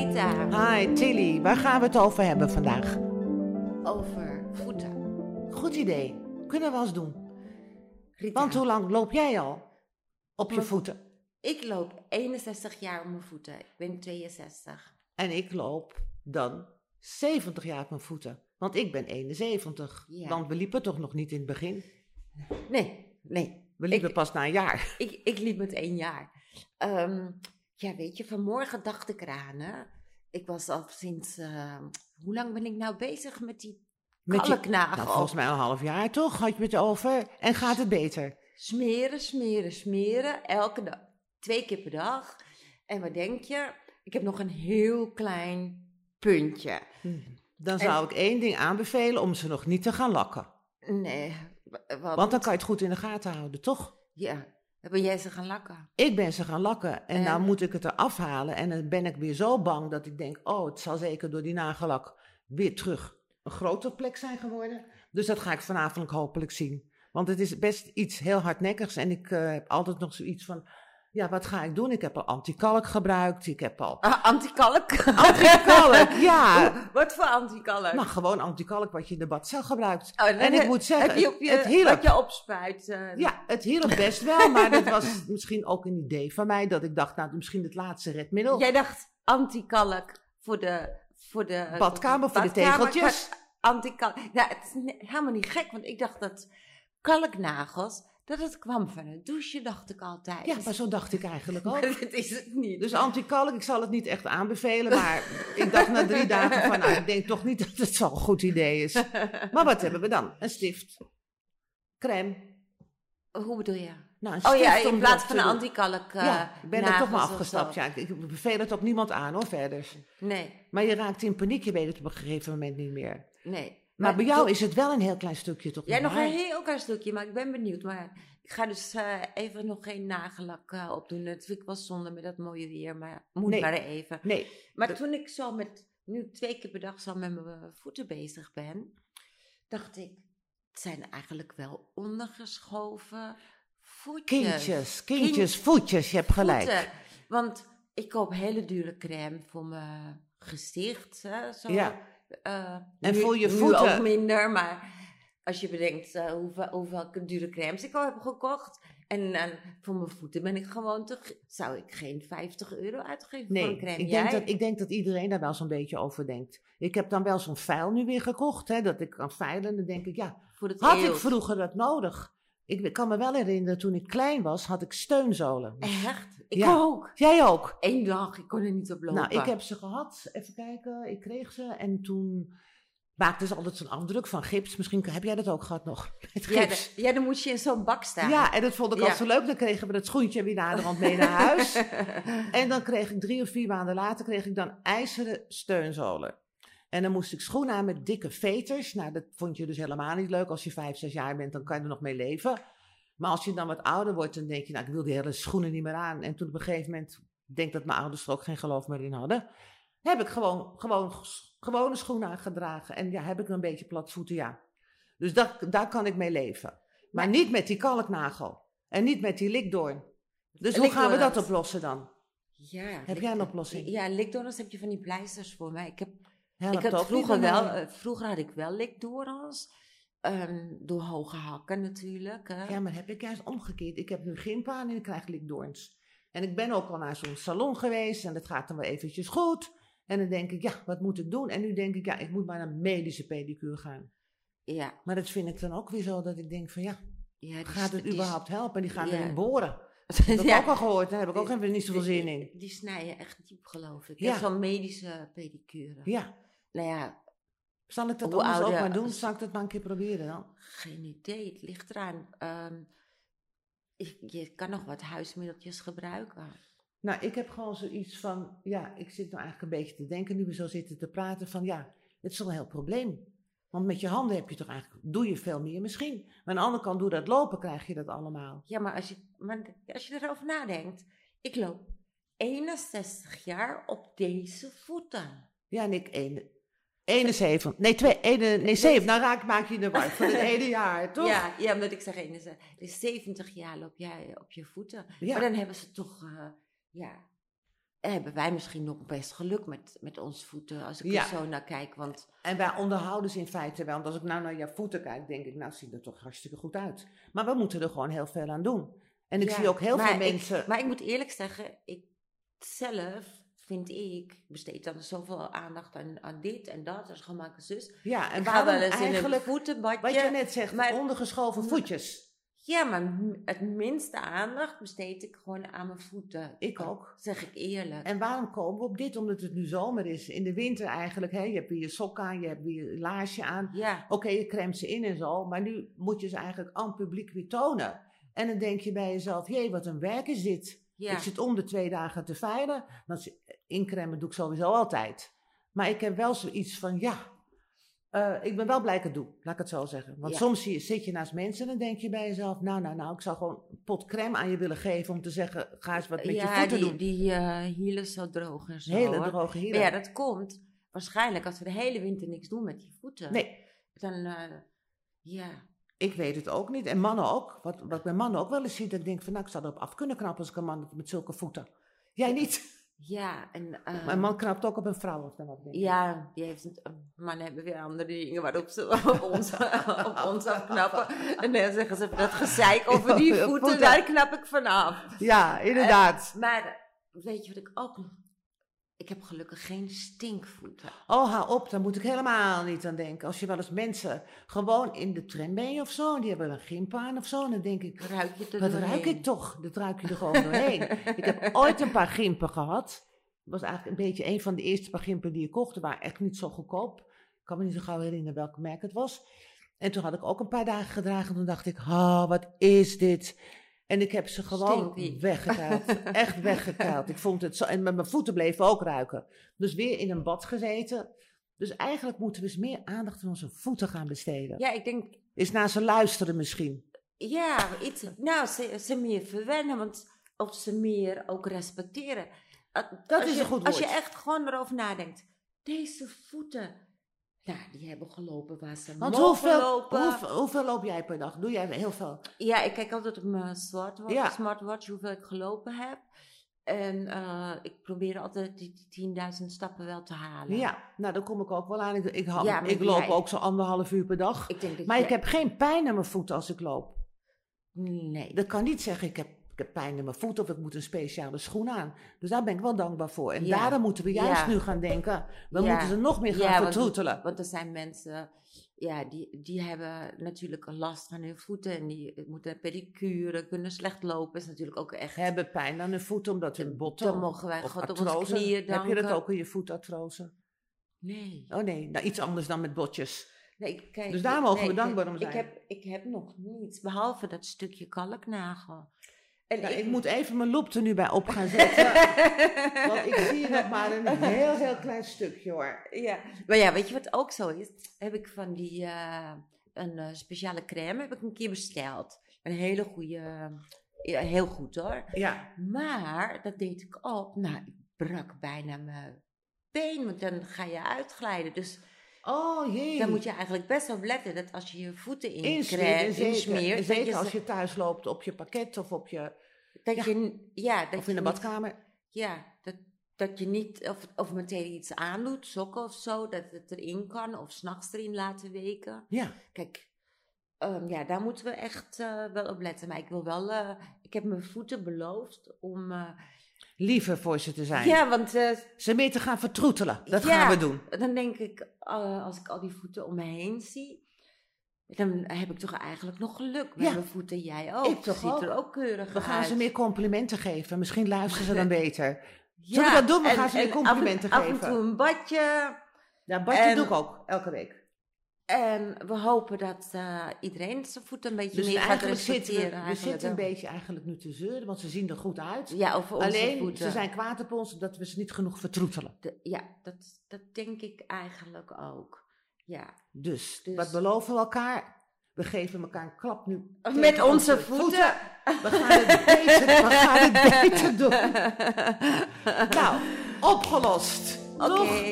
Hi Tilly, waar gaan we het over hebben vandaag? Over voeten. Goed idee. Kunnen we eens doen. Rita, Want hoe lang loop jij al? Op je Mijn- voeten. ik loop 61 jaar op mijn voeten. Ik ben 62. En ik loop dan 70 jaar op mijn voeten. Want ik ben 71. Ja. Want we liepen toch nog niet in het begin. Nee, nee. We liepen Ik- pas na een jaar. Ik, ik liep met één jaar. Ehm, ja, weet je, vanmorgen dacht ik eraan. Hè? Ik was al sinds... ehm, hoe lang ben ik nou bezig met die Met die- kalknagel? Nou, volgens mij een half jaar toch? Had je het over? En gaat het beter? Smeren, smeren, smeren. Elke dag. Twee keer per dag. En wat denk je? Ik heb nog een heel klein puntje. Hmm. Dan zou ik één ding aanbevelen om ze nog niet te gaan lakken. Nee, wa- wat? Want dan kan je het goed in de gaten houden, toch? Ja, ben jij ze gaan lakken? Ik ben ze gaan lakken en En? nou moet ik het eraf halen. En dan ben ik weer zo bang dat ik denk, oh, het zal zeker door die nagellak weer terug een grotere plek zijn geworden. Dus dat ga ik vanavond hopelijk zien. Want het is best iets heel hardnekkigs en ik eh, heb altijd nog zoiets van, ja, wat ga ik doen? Ik heb al antikalk gebruikt, ik heb al... Ah, antikalk. Kalk, ja. Wat voor antikalk? Nou, gewoon antikalk wat je in de badcel gebruikt. Oh, en ik moet zeggen, heb je op je, het hielp. Wat je opspuit. eh, Ja, het hielp best wel, maar dat was misschien ook een idee van mij. Dat ik dacht, nou, misschien het laatste redmiddel. Jij dacht antikalk voor de... Voor de badkamer voor badkamer, de tegeltjes. maar Antikalk. Ja, het is ne- helemaal niet gek, want ik dacht dat kalknagels, dat het kwam van het douche, dacht ik altijd. Ja, maar zo dacht ik eigenlijk ook. dat is het niet. Dus antikalk, ik zal het niet echt aanbevelen, maar ik dacht na drie dagen van, nou, ik denk toch niet dat het zo'n goed idee is. Maar wat hebben we dan? Een stift. Crème. Hoe bedoel je? Nou, een Oh ja, stift om in plaats erop van te een doen. antikalk eh Ja, ik ben er toch maar nagels of zo. afgestapt. Ja, ik- ik beveel het ook niemand aan hoor, verder. Nee, Maar je raakt in paniek, je weet het op een gegeven moment niet meer. nee. Maar bij jou is het wel een heel klein stukje toch? Jij niet nog waar? een heel klein stukje, maar ik ben benieuwd. Maar ik ga dus eh, even nog geen nagellak eh, opdoen. Dat vind ik wel zonde met dat mooie weer, maar moet Nee. maar even. Nee, Maar Dat- toen ik zo met, nu ik twee keer per dag zo met mijn eh, voeten bezig ben, dacht ik, het zijn eigenlijk wel ondergeschoven voetjes. kindjes, kindjes, voetjes, je hebt gelijk. Voeten. Want ik koop hele dure crème voor mijn gezicht. Hè, zo. Ja. Eh, En nu- voor je Nu voeten. ook minder, maar als je bedenkt eh, hoeveel, hoeveel dure crèmes ik al heb gekocht. En eh, voor mijn voeten ben ik gewoon te... ge- Zou ik geen 50 euro uitgeven voor Nee, een crème? ik denk, Jij? dat, ik denk dat iedereen daar wel zo'n beetje over denkt. Ik heb dan wel zo'n vuil nu weer gekocht, hè, dat ik kan veilen. En dan denk ik, ja, voor het had ik eelt. vroeger dat nodig? Ik kan me wel herinneren, toen ik klein was, had ik steunzolen. Echt? Ik Ja. ook. Jij ook? Eén dag, ik kon er niet op lopen. Nou, ik heb ze gehad. Even kijken, ik kreeg ze. En toen maakte ze altijd zo'n afdruk van gips. Misschien heb jij dat ook gehad nog, met Ja, gips. dan, ja, dan moest je in zo'n bak staan. Ja, en dat vond ik Ja. altijd zo leuk. Dan kregen we dat schoentje weer naderhand mee naar huis. en dan kreeg ik drie of vier maanden later kreeg ik dan ijzeren steunzolen. En dan moest ik schoenen aan met dikke veters. Nou, dat vond je dus helemaal niet leuk. Als je vijf, zes jaar bent, dan kan je er nog mee leven. Maar als je dan wat ouder wordt, dan denk je, nou, ik wil die hele schoenen niet meer aan. En toen op een gegeven moment, ik denk dat mijn ouders er ook geen geloof meer in hadden, heb ik gewoon, gewoon s- gewone schoenen aangedragen. En ja, heb ik een beetje platvoeten, ja. Dus dat, daar kan ik mee leven. Maar niet met die kalknagel. En niet met die likdoorn. Dus hoe gaan we dat Likdoorn. oplossen dan? Ja, Heb lik- jij een oplossing? Ja, likdorens heb je van die pleisters voor mij. Ik heb Helpt ik had ook niet vroeger wel, allemaal. eh, vroeger had ik wel likdorens. ehm, door hoge hakken natuurlijk. Hè. Ja, maar heb ik juist omgekeerd. Ik heb nu gimpaan en ik krijg likdoorns. En ik ben ook al naar zo'n salon geweest en dat gaat dan wel eventjes goed. En dan denk ik, ja, wat moet ik doen? En nu denk ik, ja, ik moet maar naar een medische pedicure gaan. ja, Maar dat vind ik dan ook weer zo dat ik denk van, ja, ja, die gaat sn- het die s- überhaupt helpen? Die gaan ja. erin boren. Dat Ja, heb ik ook al gehoord, daar heb ik ook even niet zoveel zin in. Die, die snijden echt diep, geloof ik. Ja. Ja. Zo'n medische pedicure. Ja, Nou ja, zal ik dat Hoe anders ook ouder- maar doen? Zal ik dat maar een keer proberen dan? geen idee. Het ligt eraan. ehm, je, je kan nog wat huismiddeltjes gebruiken. Nou, ik heb gewoon zoiets van, ja, ik zit nou eigenlijk een beetje te denken, nu we zo zitten te praten, van ja, het is wel een heel probleem. Want met je handen heb je toch eigenlijk, doe je veel meer misschien. Maar aan de andere kant, door dat lopen krijg je dat allemaal. Ja, maar als je, maar als je erover nadenkt. Ik loop 61 jaar op deze voeten. Ja, en ik, ene, 71, nee, twee, ene, nee, zeven, nou raak, maak je de war van het hele jaar, toch? Ja, ja, omdat ik zeg, één is, eh, dus 70 jaar loop jij op je voeten. Ja. Maar dan hebben ze toch, eh, ja, hebben wij misschien nog best geluk met, met onze voeten, als ik Ja. er zo naar kijk. Want En wij onderhouden ze in feite wel. Want als ik nou naar jouw voeten kijk, denk ik, nou zien er toch hartstikke goed uit. Maar we moeten er gewoon heel veel aan doen. En ik Ja, zie ook heel maar veel ik- mensen. Maar ik moet eerlijk zeggen, ik zelf vind ik, besteed dan zoveel aandacht aan, aan dit en dat, als gemakkelijk zus. ja, en Ik ga wel waarom eens in een eigenlijk, voetenbadje. wat je net zegt, maar- ondergeschoven voetjes. Ja, maar m- het minste aandacht besteed ik gewoon aan mijn voeten. Ik ook. Zeg ik eerlijk. En waarom komen we op dit? Omdat het nu zomer is. In de winter eigenlijk, hè, je hebt weer je sok aan, je hebt weer je laarsje aan. Ja, Oké, je cremt ze in en zo, maar nu moet je ze eigenlijk aan het publiek weer tonen. En dan denk je bij jezelf, jee, wat een werk is dit. ja. Ik zit om de twee dagen te veilen. Dan zit- incremmen doe ik sowieso altijd. Maar ik heb wel zoiets van, ja, eh, ik ben wel blij dat ik het doe. Laat ik het zo zeggen. Want Ja. soms zie je, zit je naast mensen en dan denk je bij jezelf... Nou, nou, nou, ik zou gewoon een pot crème aan je willen geven om te zeggen... Ga eens wat met ja, je voeten die, doen. die eh, hielen zo droog en zo. hele hoor. droge hielen. Maar ja, dat komt waarschijnlijk als we de hele winter niks doen met die voeten. Nee, Dan, eh, ja. ik weet het ook niet. En mannen ook. Wat, wat ik bij mannen ook wel eens zie, dat ik denk van... Nou, ik zou erop af kunnen knappen als ik een man met zulke voeten. Jij niet. Ja, en... eh, Maar een man knapt ook op een vrouw. Of dan wat denk ik. Ja, die heeft een, mannen hebben weer andere dingen waarop ze op ons, op ons afknappen. En dan zeggen ze dat gezeik over die Ja, voeten, voeten. daar knap ik vanaf. ja inderdaad. Maar weet je wat ik ook nog... Ik heb gelukkig geen stinkvoeten. Oh, hou op, daar moet ik helemaal niet aan denken. Als je wel eens mensen gewoon in de tram bent of zo, en die hebben een gimp aan of zo, en dan denk ik, Ruik je er wat doorheen? ruik ik toch? Dat ruik je er gewoon doorheen. ik heb ooit een paar gimpen gehad. Dat was eigenlijk een beetje een van de eerste paar gimpen die ik kocht. Die waren echt niet zo goedkoop. Ik kan me niet zo gauw herinneren welk merk het was. En toen had ik ook een paar dagen gedragen. Toen dacht ik, oh, wat is dit? En ik heb ze gewoon Stinky. weggekuild. Echt weggekuild. Ik vond het zo. En met mijn voeten bleven ook ruiken. Dus weer in een bad gezeten. Dus eigenlijk moeten we eens meer aandacht aan onze voeten gaan besteden. Ja, ik denk... Is naar ze luisteren misschien. Ja, iets, nou, ze, ze meer verwennen, want, of ze meer ook respecteren. A- Dat als is je, een goed Als je woord. echt gewoon erover nadenkt. Deze voeten, nou, die hebben gelopen waar ze Want mogen hoeveel, lopen. hoeveel, hoeveel loop jij per dag? Doe jij heel veel? Ja, ik kijk altijd op mijn smartwatch, Ja. smartwatch hoeveel ik gelopen heb. En eh, ik probeer altijd die die 10.000 stappen wel te halen. Ja, nou daar kom ik ook wel aan. Ik, ik, hou- Ja, maar ik loop jij- ook zo anderhalf uur per dag. Ik denk dat Maar je- ik heb geen pijn aan mijn voeten als ik loop. Nee. Dat kan niet zeggen, ik heb, ik heb pijn aan mijn voeten of ik moet een speciale schoen aan. Dus daar ben ik wel dankbaar voor. En Ja. daarom moeten we juist Ja. nu gaan denken. We Ja. moeten ze nog meer gaan Ja, want- vertroetelen. Want er zijn mensen, ja, die, die hebben natuurlijk last van hun voeten. En die moeten pedicure, kunnen slecht lopen. Is natuurlijk ook echt... Hebben pijn aan hun voeten omdat hun botten... Dan mogen wij of God op onze artrose. knieën Heb danken. je dat ook in je voetartrose? Nee. Oh nee, nou iets anders dan met botjes. nee ik- kijk, Dus daar mogen we ik- dankbaar om ik zijn. heb, ik heb nog niets, behalve dat stukje kalknagel. En Nou, ik, moet even mijn lop er nu bij op gaan zetten. want ik zie nog maar een heel, heel klein stukje hoor. Ja, maar ja, weet je wat ook zo is? Heb ik van die eh, een eh, speciale crème heb ik een keer besteld. Een hele goede, ja, heel goed hoor. Ja, Maar dat deed ik op. Nou, ik brak bijna mijn been, want dan ga je uitglijden. Dus Oh jee. dan moet je eigenlijk best op letten dat als je je voeten in crème insmeren. Zeker, insmeert, dat zeker je, als ze- je thuis loopt op je pakket of, op je, dat je, ja, dat of in je niet- de badkamer. Ja, dat, dat je niet, of, of meteen iets aandoet, sokken of zo, dat het erin kan, of s'nachts erin laten weken. Ja. Kijk, ehm, ja, daar moeten we echt eh, wel op letten. Maar ik wil wel, eh, ik heb mijn voeten beloofd om. eh, Liever voor ze te zijn. ja, want eh, Ze meer te gaan vertroetelen. Dat Ja. gaan we doen. dan denk ik, eh, als ik al die voeten om me heen zie, dan heb ik toch eigenlijk nog geluk met Ja. mijn voeten. Jij ook. Ik toch Ziet er ook. ook keurig We gaan uit. ze meer complimenten geven. Misschien luisteren ze dan beter. Ja, Zullen we dat doen? We en- gaan ze en weer complimenten af en, geven. Af en toe een badje. Ja, badje En- doe ik ook. Elke week. En we hopen dat eh, iedereen zijn voeten een beetje Dus meer gaat eigenlijk zitten we, respecteren. we eigenlijk zitten een wel. beetje eigenlijk nu te zeuren. Want ze zien er goed uit. Ja, over onze Alleen, voeten. ze zijn kwaad op ons omdat we ze niet genoeg vertroetelen. De- ja, dat, dat denk ik eigenlijk ook. Ja. Dus, Dus- wat beloven we elkaar? We geven elkaar een klap nu. Met tegen onze voeten. We gaan het beter, we gaan het beter doen. Nou, opgelost. Oké. Toch?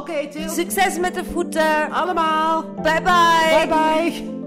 Oké, Til. Succes met de voeten. Allemaal. Bye bye. Bye bye.